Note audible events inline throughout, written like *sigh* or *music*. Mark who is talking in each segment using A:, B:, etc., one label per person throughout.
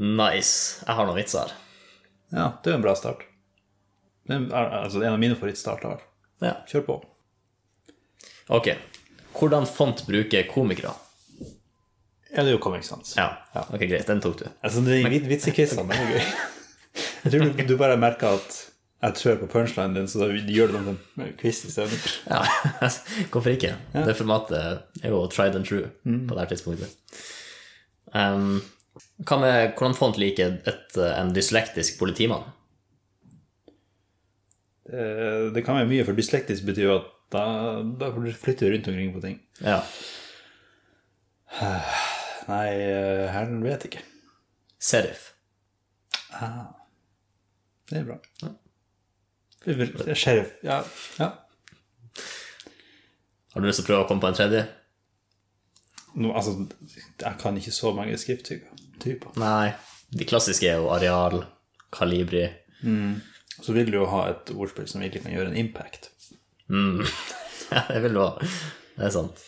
A: Nice. Jeg har noen vitser her.
B: Ja, det er jo en bra start. Det er, en- altså, det er en av mine favorittstarter. i hvert fall.
A: Ja.
B: Kjør på.
A: Ok. Hvordan font bruker komikere?
B: Ja, det er jo Comic Sans.
A: Ja. Ok, greit. Den tok du.
B: Altså, den vit- vitsekvisten, den er gøy. *laughs* Jeg tror du, du bare merker at jeg trør på punchlinen din, så da gjør du sånn den til en quiz isteden.
A: Ja, *laughs* hvorfor ikke? Det formatet er jo tried and true på det her tidspunktet. Um, hva med hvordan font liker et, eh, en dyslektisk politimann?
B: Eh, Det kan være mye, for dyslektisk betyr jo at da, da flytter du rundt omkring på ting.
A: Ja.
B: Nei, eh, her vet jeg ikke.
A: Serif.
B: Det er bra. Det er Sheriff. Ja. ja.
A: Har du lyst til å prøve å komme på en tredje?
B: Nå, altså, jeg kan ikke så mange skrifttyper. typer.
A: Nei. De klassiske er jo areal, kalibri
B: Så vil du jo ha et ordspill som virkelig kan gjøre en impact.
A: *laughs* Ja, det vil du ha. Det er sant.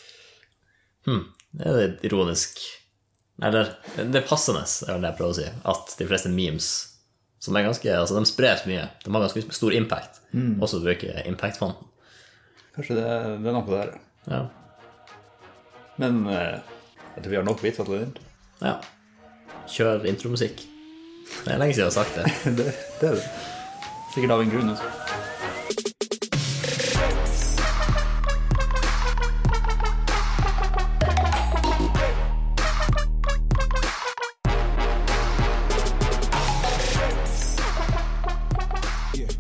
A: Hm. Det er litt ironisk Eller det er passende, er vel det jeg prøver å si, at de fleste memes som er ganske, altså De spres mye. De har ganske stor impact. Også bruker impact-fonten.
B: Kanskje det, det er noe der.
A: Ja.
B: Men eh, jeg tror vi har nok vitser til den.
A: ja. Kjør intromusikk. Det er lenge siden jeg har sagt det.
B: *laughs* Det, det er det. Sikkert av en grunn. Altså.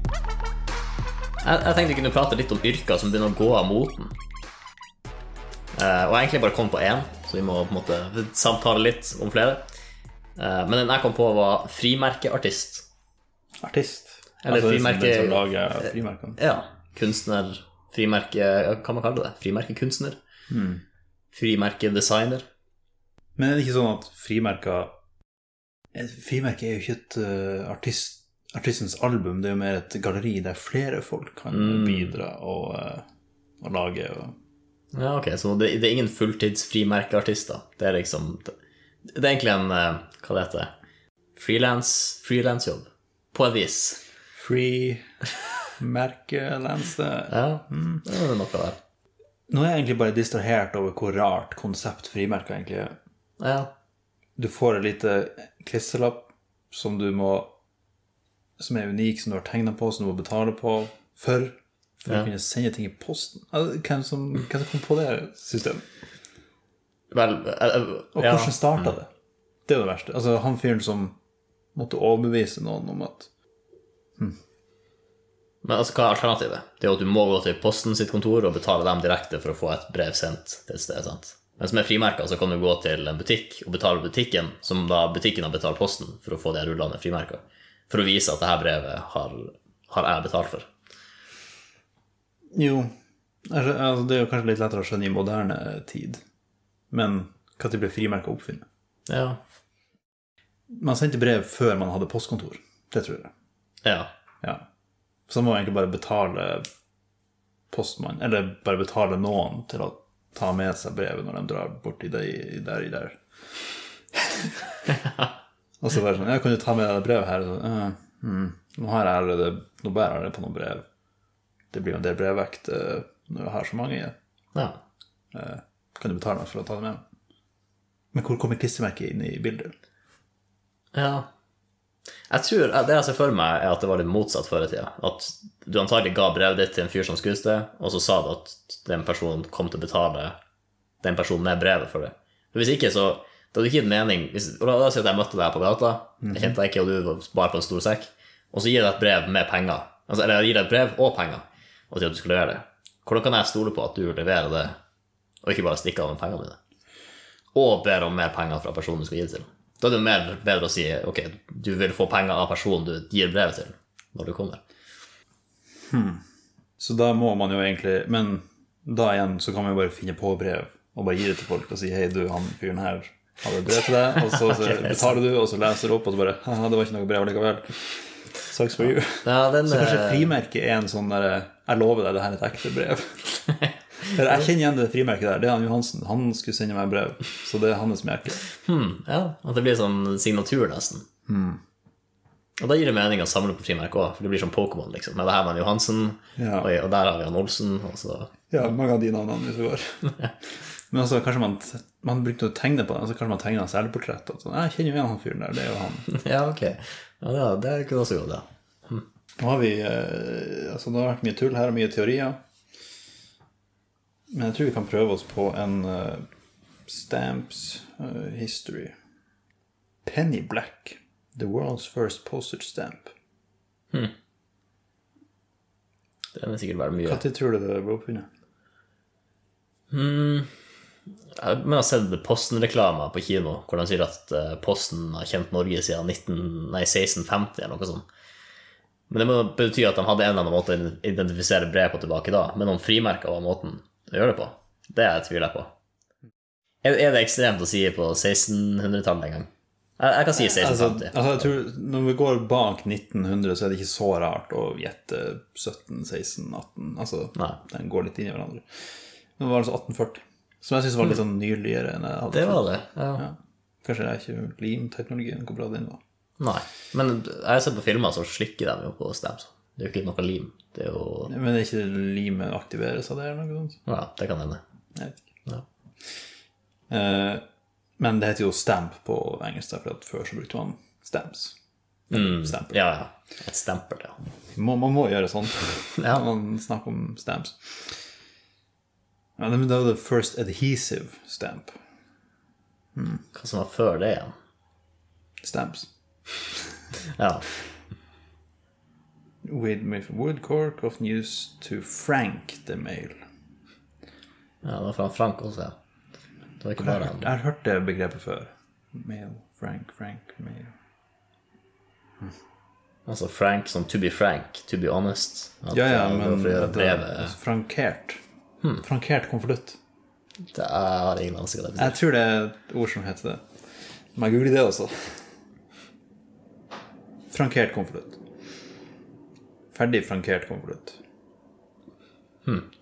A: Jeg, jeg tenkte vi kunne prate litt om yrker som begynner å gå av moten. Eh, og jeg egentlig bare kom på én, så vi må på en måte samtale litt om flere. Eh, men den jeg kom på, var frimerkeartist.
B: Artist.
A: Eller
B: altså, det er
A: frimerke-
B: som den som lager frimerkene.
A: Ja. Kunstner, frimerke ja, Hva man kaller det? Frimerkekunstner?
B: Hmm.
A: Frimerkedesigner?
B: Men er det ikke sånn at frimerker Et frimerke er jo ikke et eh, artist, artistens album, det er jo mer et galleri der flere folk kan
A: Mm.
B: bidra og, eh, og lage. Og...
A: Ja, ok, så det, det er ingen fulltidsfrimerkeartister. Det er liksom Det, det er egentlig en eh, Hva det heter det? Frilans, frilansjobb. På et vis.
B: *laughs* Frimerkelense
A: Ja,
B: Hmm.
A: det er noe der.
B: Nå er jeg egentlig bare distrahert over hvor rart konsept frimerker egentlig er.
A: Ja.
B: Du får en lite klisterlapp som du må Som er unik, som du har tegna på, som du må betale på for. For
A: Ja.
B: å kunne sende ting i posten. Altså, Hvem som, hvem som kom på det systemet?
A: Vel, eh, eh,
B: Og
A: ja. Mm.
B: hvordan starta det? Det er jo det verste. Altså, han fyren som måtte overbevise noen om at
A: Men altså, hva er alternativet? Det er jo at du må gå til Posten sitt kontor og betale dem direkte for å få et brev sendt til et sted. sant? Mens med frimerker så kan du gå til en butikk og betale butikken, som da butikken har betalt Posten for å få de rullende frimerker. For å vise at det her brevet har, har jeg betalt for.
B: Jo, altså, altså, det er jo kanskje litt lettere å skjønne i moderne tid. Men når ble frimerka oppfunnet?
A: Ja.
B: Man sendte brev før man hadde postkontor. Det tror jeg.
A: ja.
B: Ja. Så man må egentlig bare betale postmann, eller bare betale noen til å ta med seg brevet når de drar borti der, der, i der. Og så bare sånn Ja, kan du ta med deg det brevet her? Så, «Eh, mm, nå har jeg allerede Nå bærer jeg det på noen brev. Det blir jo en del brevvekt eh, når jeg har så mange igjen.
A: ja.
B: Kan du betale meg for å ta det med? Men hvor kommer klistremerket inn i bildet?
A: Ja. Jeg tror, Det jeg ser for meg, er at det var litt motsatt før i tida. At du antagelig ga brevet ditt til en fyr som skulle det, og så sa du at den personen kom til å betale den personen med brevet for det. For Hvis ikke, så Det hadde ikke gitt mening hvis, og La oss si at jeg møtte deg på gata, jeg kjente deg ikke, og du bar på en stor sekk, og så gir jeg deg et brev med penger. Altså, eller jeg gir deg et brev og penger, og sier at du skal levere det. Hvordan kan jeg stole på at du leverer det, og ikke bare stikker av med pengene dine? og ber om mer penger fra personen du skal gi det til. Da er det jo mer bedre å si ok, du vil få penger av personen du gir brevet til, når du kommer.
B: Så da må man jo egentlig Men da igjen så kan man jo bare finne på brev og bare gi det til folk og si hei, du, han fyren her hadde et brev til deg, og så,
A: *laughs* Ok,
B: så
A: det er sant.
B: betaler du, og så leser du opp, og så bare haha, det var ikke noe brev likevel. Sucks for you.
A: Ja, den,
B: Så kanskje
A: eh, *laughs*
B: frimerket er en sånn derre Jeg lover deg, det her er et ekte brev. Eller, jeg kjenner igjen det frimerket der. Det er han Johansen. Han skulle sende meg brev, så det er hans merke.
A: Hmm, ja, At det blir sånn signatur, nesten. Og da gir det mening å samle på frimerke òg, for det blir som Pokémon, liksom. Men det her var han Johansen,
B: Ja.
A: og, og der har vi han Olsen, og så
B: Ja, mange av de navnene hvis det går. Men altså, kanskje man, man brukte å tegne på det, altså, kanskje man tegna selvportrett. og Sånn. Jeg kjenner jo igjen han fyren der, det er jo han.
A: *laughs* Ja, ok. Ja, det, det kunne også gått, ja.
B: Nå har vi eh, altså, Det har vært mye tull her og mye teorier. Men jeg tror vi kan prøve oss på en eh, Stamps eh, history. Penny Black. The world's first postage stamp.
A: Det vil sikkert være mye.
B: Når tror du det ble oppfunnet?
A: Jeg mener, jeg har sett Posten-reklamer på kino hvor de sier at eh, Posten har kjent Norge siden 19, nei, 1650 eller noe sånt. Men det må bety at de hadde en eller annen måte å identifisere brev på tilbake da. Men om frimerker var måten å gjøre det på, det tviler jeg på. Er, er det ekstremt å si på 1600-tallet engang? Jeg, jeg kan si
B: Altså,
A: 1650.
B: altså, jeg tror Når vi går bak 1900, så er det ikke så rart å gjette 17, 16, 18 Altså,
A: Nei.
B: den går litt inn i hverandre. Nå var det altså 1840, som jeg syns var litt sånn nyligere enn jeg hadde
A: Mm. det
B: trodd.
A: var det. Ja.
B: Ja. Kanskje jeg ikke limteknologien, hvor bra den var.
A: Nei. Men jeg har sett på filmer så slikker de jo på stamps. Det er jo ikke noe lim. Det er jo
B: Men er ikke limet aktiveres av det, eller noe sånt?
A: Ja, det kan hende.
B: Jeg vet ikke.
A: Ja.
B: Eh, men det heter jo stamp på engelsk, da, for at før så brukte man stamps.
A: Mm.
B: Stempel.
A: Ja, ja. Et stempel, ja.
B: Må, man må gjøre sånn
A: *laughs* Ja.
B: når man snakker om stamps. Ja, men det er jo the first adhesive stamp.
A: Hva som var før det igjen?
B: Stamps.
A: Ja.
B: With with wood cork often used to frank the mail.
A: ja, det var fra Frank også, ja. Det var ikke
B: Jeg har,
A: bare
B: hørt,
A: han.
B: jeg har hørt det begrepet før. Mail, frank, frank, mail.
A: Altså Frank som to be frank, to be honest. At,
B: Ja, ja,
A: eh, det var
B: men
A: For å gjøre eh,
B: det er
A: brevet
B: frankert.
A: Hmm.
B: Frankert konvolutt.
A: det, Jeg har ingen anelse hva det betyr.
B: Jeg tror det er et ord som heter det. Må jeg google det også? Frankert konvolutt. Ferdig frankert konvolutt.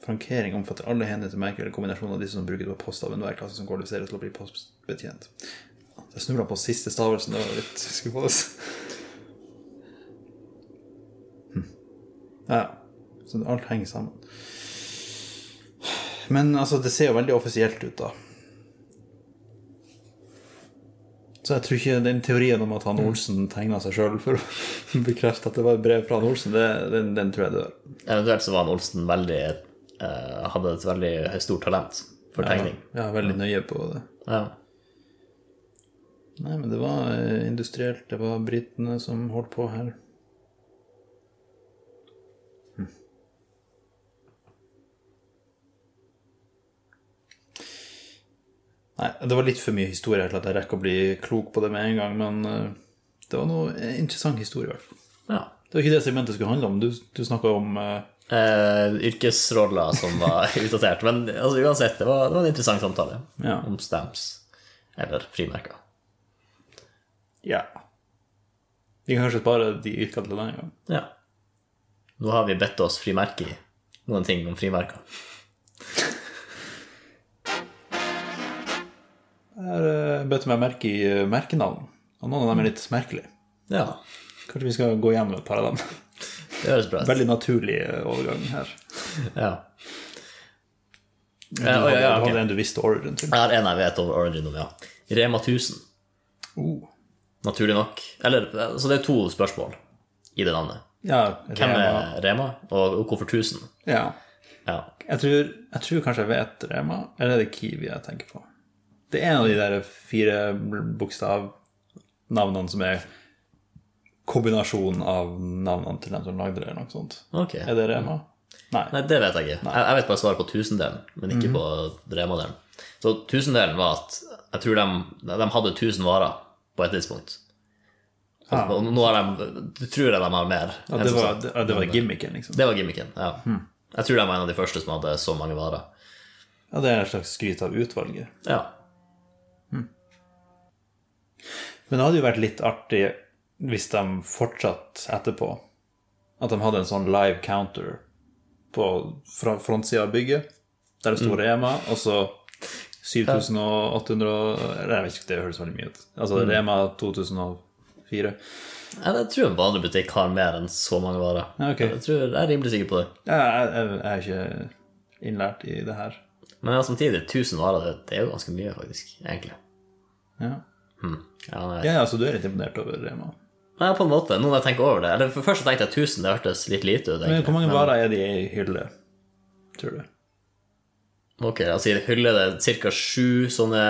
B: Frankering omfatter alle hender til merker eller kombinasjoner av disse som brukes på post av enhver klasse som kvalifiserer til å bli postbetjent. Jeg snubla på siste stavelsen, det var litt *laughs* skuffende. Hm. Ja, ja. Så alt henger sammen. Men altså, det ser jo veldig offisielt ut, da. Så jeg tror ikke den teorien om at han Olsen tegna seg sjøl for å *laughs* bekrefte at det var et brev fra han Olsen, det, den, den tror jeg dør.
A: Eventuelt så var han Olsen veldig eh, Hadde et veldig stort talent for tegning.
B: Jeg er veldig nøye på det.
A: Ja.
B: Nei, men det var eh, industrielt, det var britene som holdt på her. Hm. Nei, det var litt for mye historie her til at jeg rekker å bli klok på det med en gang, men eh, det var noe eh, interessant historie, i hvert fall.
A: ja.
B: Det var ikke det segmentet skulle handle om. Du, du snakka om eh,
A: Eh, yrkesroller som var *laughs* utdatert. Men altså, uansett, det var, det var en interessant samtale
B: Ja.
A: om stamps. Eller frimerker.
B: Ja. Vi kan kanskje spare de yrkene til den gang.
A: Ja. Nå har vi bedt oss frimerke i noen ting om frimerker.
B: Her eh, bøtte meg merke i eh, merkenavn, og noen av dem er litt merkelige.
A: Ja,
B: Kanskje vi skal gå gjennom et par av dem. *laughs*
A: det høres bra ut.
B: Veldig naturlig eh, overgang her.
A: Ja.
B: Du
A: ja,
B: hadde,
A: ja,
B: du
A: ok.
B: hadde en du visste origin til.
A: Jeg har en jeg vet over origin om, ja. Rema 1000,
B: Oh.
A: naturlig nok. Eller, så det er to spørsmål i det navnet.
B: Ja,
A: Hvem
B: Rema.
A: er Rema, og hvorfor 1000?
B: Ja.
A: Ja.
B: Jeg tror, jeg tror kanskje jeg vet Rema, eller er det Kiwi jeg tenker på? Det er en av de der fire bokstavnavnene som er kombinasjonen av navnene til dem som lagde det, eller noe sånt.
A: Ok.
B: Er det Rema? Nei. Mhm.
A: Nei, det vet jeg ikke. Jeg, jeg vet bare svaret på tusendelen, men ikke på Rema-delen. Så tusendelen var at jeg tror de, de hadde 1000 varer på et tidspunkt.
B: Ah.
A: Og nå har de, tror jeg de har mer.
B: Ja, det, var, Hmm. det, Altså, ja, det var gimmicken, liksom.
A: Det var gimmicken, ja. Jeg tror de var en av de første som hadde så mange varer.
B: Ja, det er en slags skryt av utvalget.
A: Ja.
B: Men det hadde jo vært litt artig hvis de fortsatt etterpå At de hadde en sånn live counter på fra- frontsida av bygget. der det står Rema, og så 7800 og Nei, jeg vet ikke, det høres veldig mye ut. Altså Rema 2004.
A: Ja, Jeg tror en vanlig butikk har mer enn så mange varer.
B: Ja, ok.
A: Jeg, tror, jeg er rimelig sikker på det.
B: Ja, jeg, jeg, jeg er ikke innlært i det her.
A: Men ja, samtidig, 1000 varer, det, det er jo ganske mye, faktisk. Egentlig.
B: Ja,
A: Hm. Ja, nei.
B: ja altså du er litt imponert over Rema.
A: Nei, på en måte, nå når jeg tenker over det. Eller for Først så tenkte jeg 1000, det hørtes litt lite ut.
B: Men
A: egentlig.
B: hvor mange varer er det i ei hylle, tror du?
A: Ok, altså i det hullet det er cirka sju sånne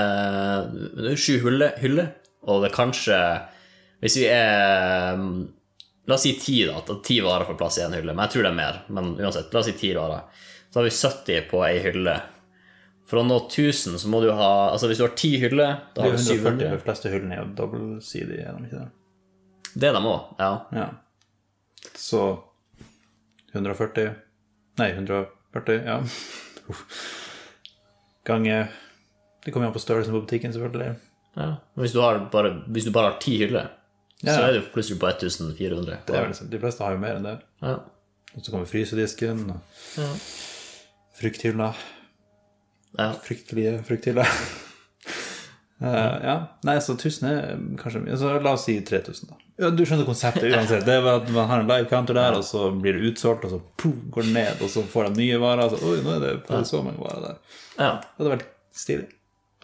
A: det er Sju huller, huller. Og det er kanskje Hvis vi er mm, La oss si ti, da. At ti varer får plass i en hylle. Men jeg tror det er mer. Men uansett, la oss si ti varer. Så har vi 70 på ei hylle. For å nå 1000 så må du ha Altså hvis du har ti hyller, da
B: Det
A: har
B: er
A: du
B: 140, de
A: 700.
B: fleste hyllene er jo dobbeltsidige, er de ikke det?
A: Det er de òg, ja.
B: Ja. Så 140 Nei, 140, ja. Uff. Ganger Det kommer jo an på størrelsen på butikken, selvfølgelig.
A: ja. Men Hvis, du har bare, hvis du bare har ti hyller, så
B: Ja.
A: er du plutselig på 1400.
B: Det er vel liksom, de fleste har jo mer enn det.
A: ja.
B: Og så kommer frysedisken og
A: Ja.
B: frukthylla.
A: Ja.
B: Fryktelige frukthylla. *laughs* Eh, ja. Nei, så 1000 er kanskje mye. Så la oss si 3000, da. Ja, du skjønner konseptet uansett. Det er bare at Man har en live counter der, og så blir det utsolgt, og så puff, går det ned, og så får de nye varer. og Så, Oi, nå er det så mange varer der.
A: ja.
B: Det hadde vært stilig.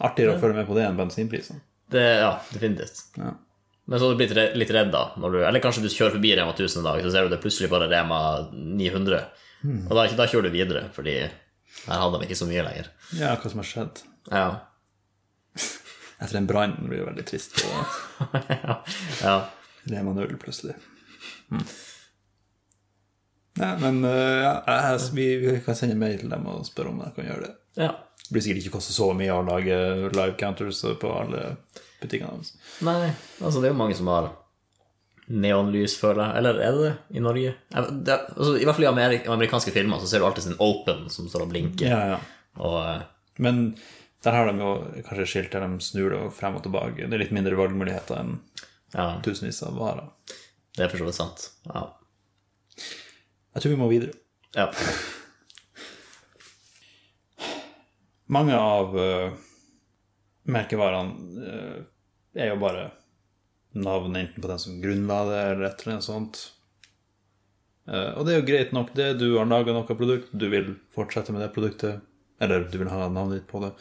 B: Artigere å følge med på det enn bensinprisene.
A: Det, ja, definitivt.
B: Ja.
A: Men så har du blitt re- litt redd, da. Når du, eller kanskje du kjører forbi Rema 1000 en dag, så ser du det er plutselig bare Rema 900. Og da, da kjører du videre, fordi her hadde de ikke så mye lenger.
B: ja, hva som har skjedd?
A: Ja.
B: Etter en brann blir det veldig trist. Og
A: *laughs* ja.
B: Rema 0 plutselig. Mm. Nei, men eh, ja, jeg, vi, vi kan sende mail til dem og spørre om de kan gjøre det.
A: ja.
B: Det blir sikkert ikke koste så mye å lage live counters på alle butikkene deres.
A: Nei, altså det er jo mange som har neonlys, føler jeg. Eller er det det i Norge? Jeg- Det, altså, I hvert fall i ameri- amerikanske filmer så ser du alltid sin open som står og blinker.
B: Ja, ja.
A: Og eh,
B: Men der har de jo kanskje skilt der de snur det frem og tilbake. Det er litt mindre valgmuligheter enn
A: ja,
B: tusenvis av varer.
A: det er for så vidt sant. Ja.
B: Jeg tror vi må videre.
A: ja.
B: Mange av eh, merkevarene eh, er jo bare navn enten på den som grunnla det, eller et eller annet sånt. Eh, og det er jo greit nok, det. Du har laga noe produkt, du vil fortsette med det produktet. Eller du vil ha navnet ditt på det.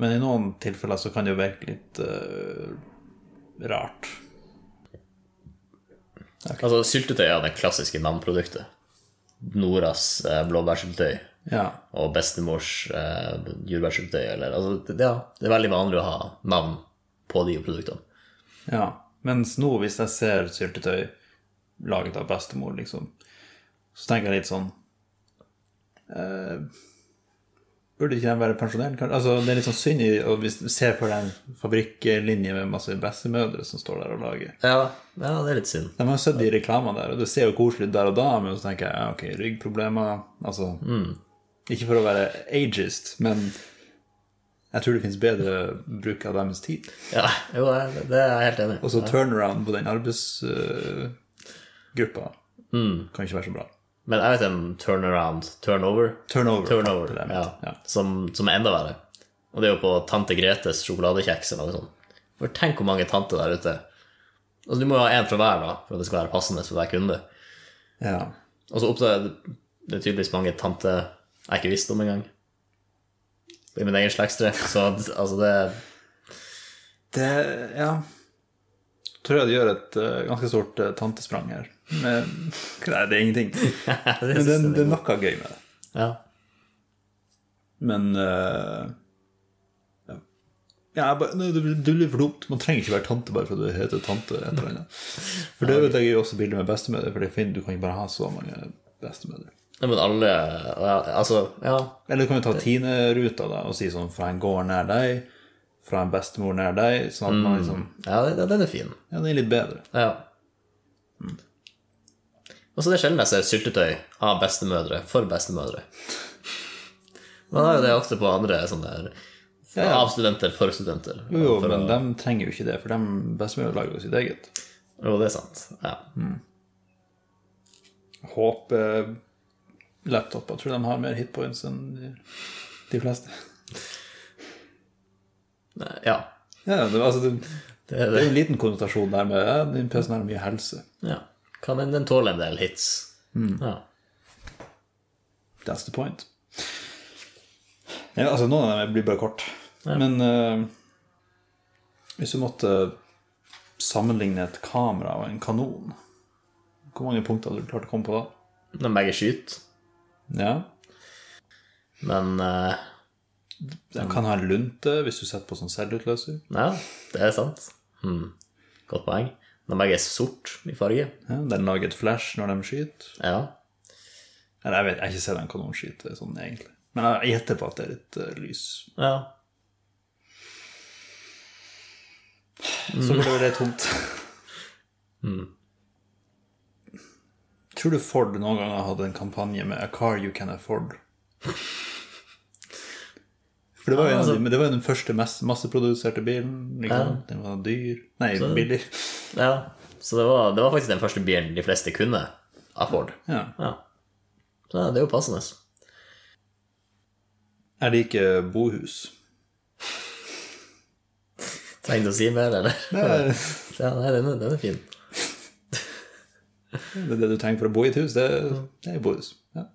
B: Men i noen tilfeller så kan det jo virke litt eh, rart.
A: Altså, syltetøy er det klassiske navnproduktet. Noras eh, blåbærsyltetøy
B: Ja.
A: og bestemors eh, jordbærsyltetøy. Eller, altså, det, det- ja, det er veldig vanlig å ha navn på de produktene.
B: ja. Mens nå, hvis jeg ser syltetøy laget av bestemor, liksom, så tenker jeg litt sånn eh, Burde ikke de være pensjonert? kanskje? Altså, det er litt sånn synd i å hvis du ser for deg en fabrikklinje med masse bestemødre som står der og lager.
A: Ja, ja, det er litt synd.
B: De har jo sett de reklamene der, og det ser jo koselig ut der og da, men så tenker jeg ja, ok, ryggproblemer Altså Ikke for å være ageist, men jeg tror det finnes bedre bruk av deres tid.
A: Ja, jo, det, det er jeg helt enig i.
B: Og så turnaround på den arbeidsgruppa
A: Mm.
B: kan ikke være så bra.
A: Men jeg vet en turnaround, turnover,
B: Turnover.
A: turnover
B: Det er det jeg
A: ja,
B: mente, ja.
A: Som, som er enda verre. Og det er jo på Tante Gretes sjokoladekjeks eller noe sånt. For tenk hvor mange tanter der ute. Altså, du må jo ha én fra hver da, for at det skal være passende for hver kunde.
B: Ja.
A: Og så oppdager jeg det er tydeligvis mange tante jeg ikke visste om engang. I min egen slektstre. Så altså det
B: Det ja. Tror jeg det gjør et eh, ganske stort eh, tantesprang her. Men *laughs* nei, det er ingenting.
A: *laughs* det
B: Men det,
A: synes jeg er
B: det er
A: god.
B: noe gøy med det.
A: Ja.
B: Men eh, ja, jeg bare, nei, det, blir- det blir for dumt. Man trenger ikke være tante bare fordi du heter tante. Et eller
A: *laughs*
B: annet. For det ødelegger jo også bildet med bestemødre. For det er fint, du kan ikke bare ha så mange bestemødre.
A: Nei, Men alle ja, Altså, ja.
B: Eller du kan jo ta Tine-ruta da, og si sånn fra en gård nær deg, fra en bestemor nær deg, sånn at
A: Mm.
B: man liksom
A: ja den- den er fin.
B: Ja, den er litt bedre.
A: Ja. Mm. Og så er det sjelden jeg ser syltetøy av bestemødre for bestemødre. Man har jo det ofte på andre sånne der
B: Ja.
A: Av studenter for studenter.
B: Jo, jo,
A: For
B: men
A: å-
B: de trenger jo ikke det, for de bestemor lager jo sitt eget.
A: jo, det er sant. Ja.
B: Håper laptoper. Tror du de har mer hitpoints enn de- de fleste?
A: Nei, Ja,
B: Ja, det, altså, det,
A: det er
B: det er
A: det.
B: jo en liten konnotasjon der med ja, den PC-en har mye helse.
A: Ja. Hva, men den tåler en del hits. Ja.
B: That's the point. Ja, altså, noen av dem blir bare kort. Men eh, hvis du måtte sammenligne et kamera og en kanon, hvor mange punkter hadde du klart å komme på da?
A: De begge skyter,
B: Ja,
A: men eh,
B: Den kan ha en lunte hvis du setter på sånn selvutløser.
A: ja, det er sant. Hmm. Godt poeng. De begge er sort i farge.
B: Ja, den lager et flash når de skyter.
A: Ja.
B: Eller jeg vet, jeg har ikke sett en kanon skyte sånn egentlig. Men jeg gjetter på at det er litt eh, lys.
A: ja.
B: Så ble det *laughs* tomt. Mm. Tror du Ford noen gang har hatt en kampanje med 'A car you can afford'? For det var jo en, av de- men det var jo den første mass, masseproduserte bilen. Ikke sant? Den var dyr. Nei, billig.
A: ja. Så det var, det var faktisk den første bilen de fleste kunne afford.
B: Ja.
A: Ja. Så det er jo passende.
B: Jeg liker bohus.
A: Trenger du å si mer, eller?
B: Det er,
A: Ja, nei, den er, den er fin.
B: det er det du trenger for å bo i et hus. Det, er- det er bohus. Ja.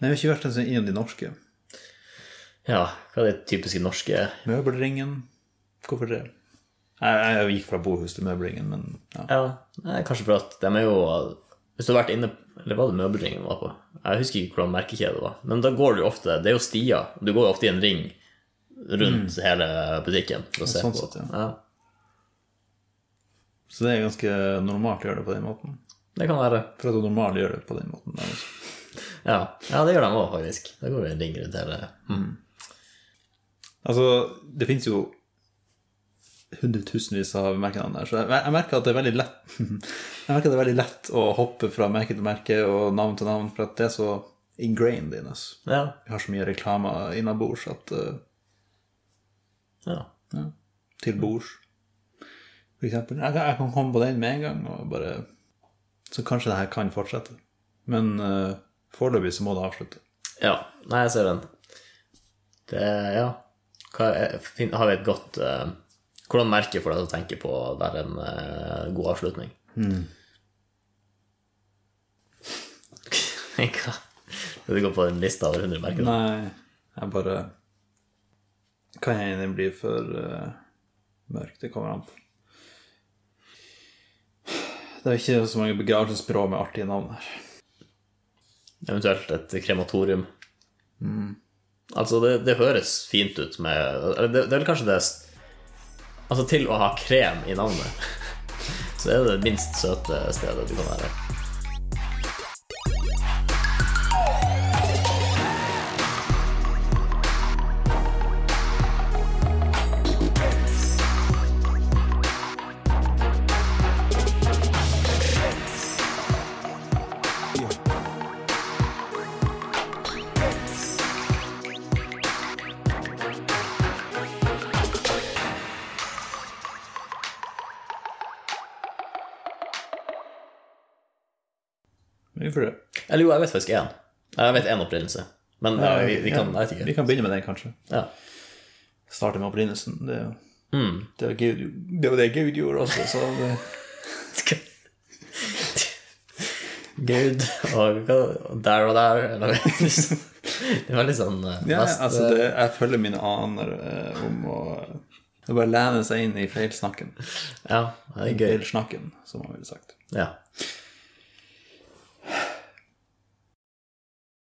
B: Nei, vi har ikke vært en sånn innom de norske.
A: Ja, hva er det typiske norske
B: Møbelringen. Hvorfor det? Jeg, jeg gikk fra bohus til møbelringen, men ja.
A: Ja, nei, kanskje for at de er jo Hvis du har vært inne Eller var det møbelringen var på? Jeg husker ikke hvordan merkekjede det var. Men da går du jo ofte Det er jo stier. Du går jo ofte i en ring rundt hele butikken. for å se
B: sånn
A: på.
B: sett, Mm. ja.
A: Ja,
B: Så det er ganske normalt å gjøre det på den måten.
A: det kan være.
B: For at du normalt gjør det på den måten. liksom. Der også.
A: Ja, ja det gjør de òg, faktisk. Da går vi i en ring rundt hele mm.
B: Altså, det finnes jo hundretusenvis av merkenavn der, så jeg, jeg merker at det er veldig lett *laughs* Jeg merker at det er veldig lett å hoppe fra merke til merke og navn til navn, for at det er så ingrained in us.
A: Ja.
B: Vi har så mye reklamer innabords at eh,
A: ja.
B: ja, Til bords, for eksempel. Jeg, kan- jeg kan komme på den med en gang, og bare Så kanskje det her kan fortsette. Men eh, foreløpig så må det avslutte.
A: Ja. Nei, jeg ser den. Det Ja. Hva er, fin- har vi et godt eh, Hvordan merke får deg til å tenke på å være en eh, god avslutning? *laughs* Hva? Det går på en lista over 100 merker. da.
B: Nei, jeg bare Kan jeg hende bli for eh, mørk? Det kommer an på. Det er ikke så mange begravelsesbyrå med artige navn her.
A: Eventuelt et krematorium. Altså, det, det høres fint ut med eller det, det er vel kanskje det s- Altså, til å ha krem i navnet, *laughs* så er det det minst søte stedet du kan være.
B: Men vi får det.
A: Eller jo, jeg vet faktisk én. Jeg vet én opprinnelse. Men ja, vi, vi kan Jeg vet
B: Vi
A: ikke.
B: kan begynne med den, kanskje.
A: Ja.
B: Starte med opprinnelsen. Det er jo
A: Mm.
B: det, er Gud, det, er jo det Gud gjorde også, så det,
A: *laughs* Gud og hva- der og der eller, *laughs* Det var litt sånn eh,
B: ja,
A: mest,
B: altså det, Jeg følger mine aner eh, om å Det er bare å lene seg inn i feilsnakken.
A: eh, ja, det er gøy.
B: Feilsnakken, som man ville sagt.
A: Ja.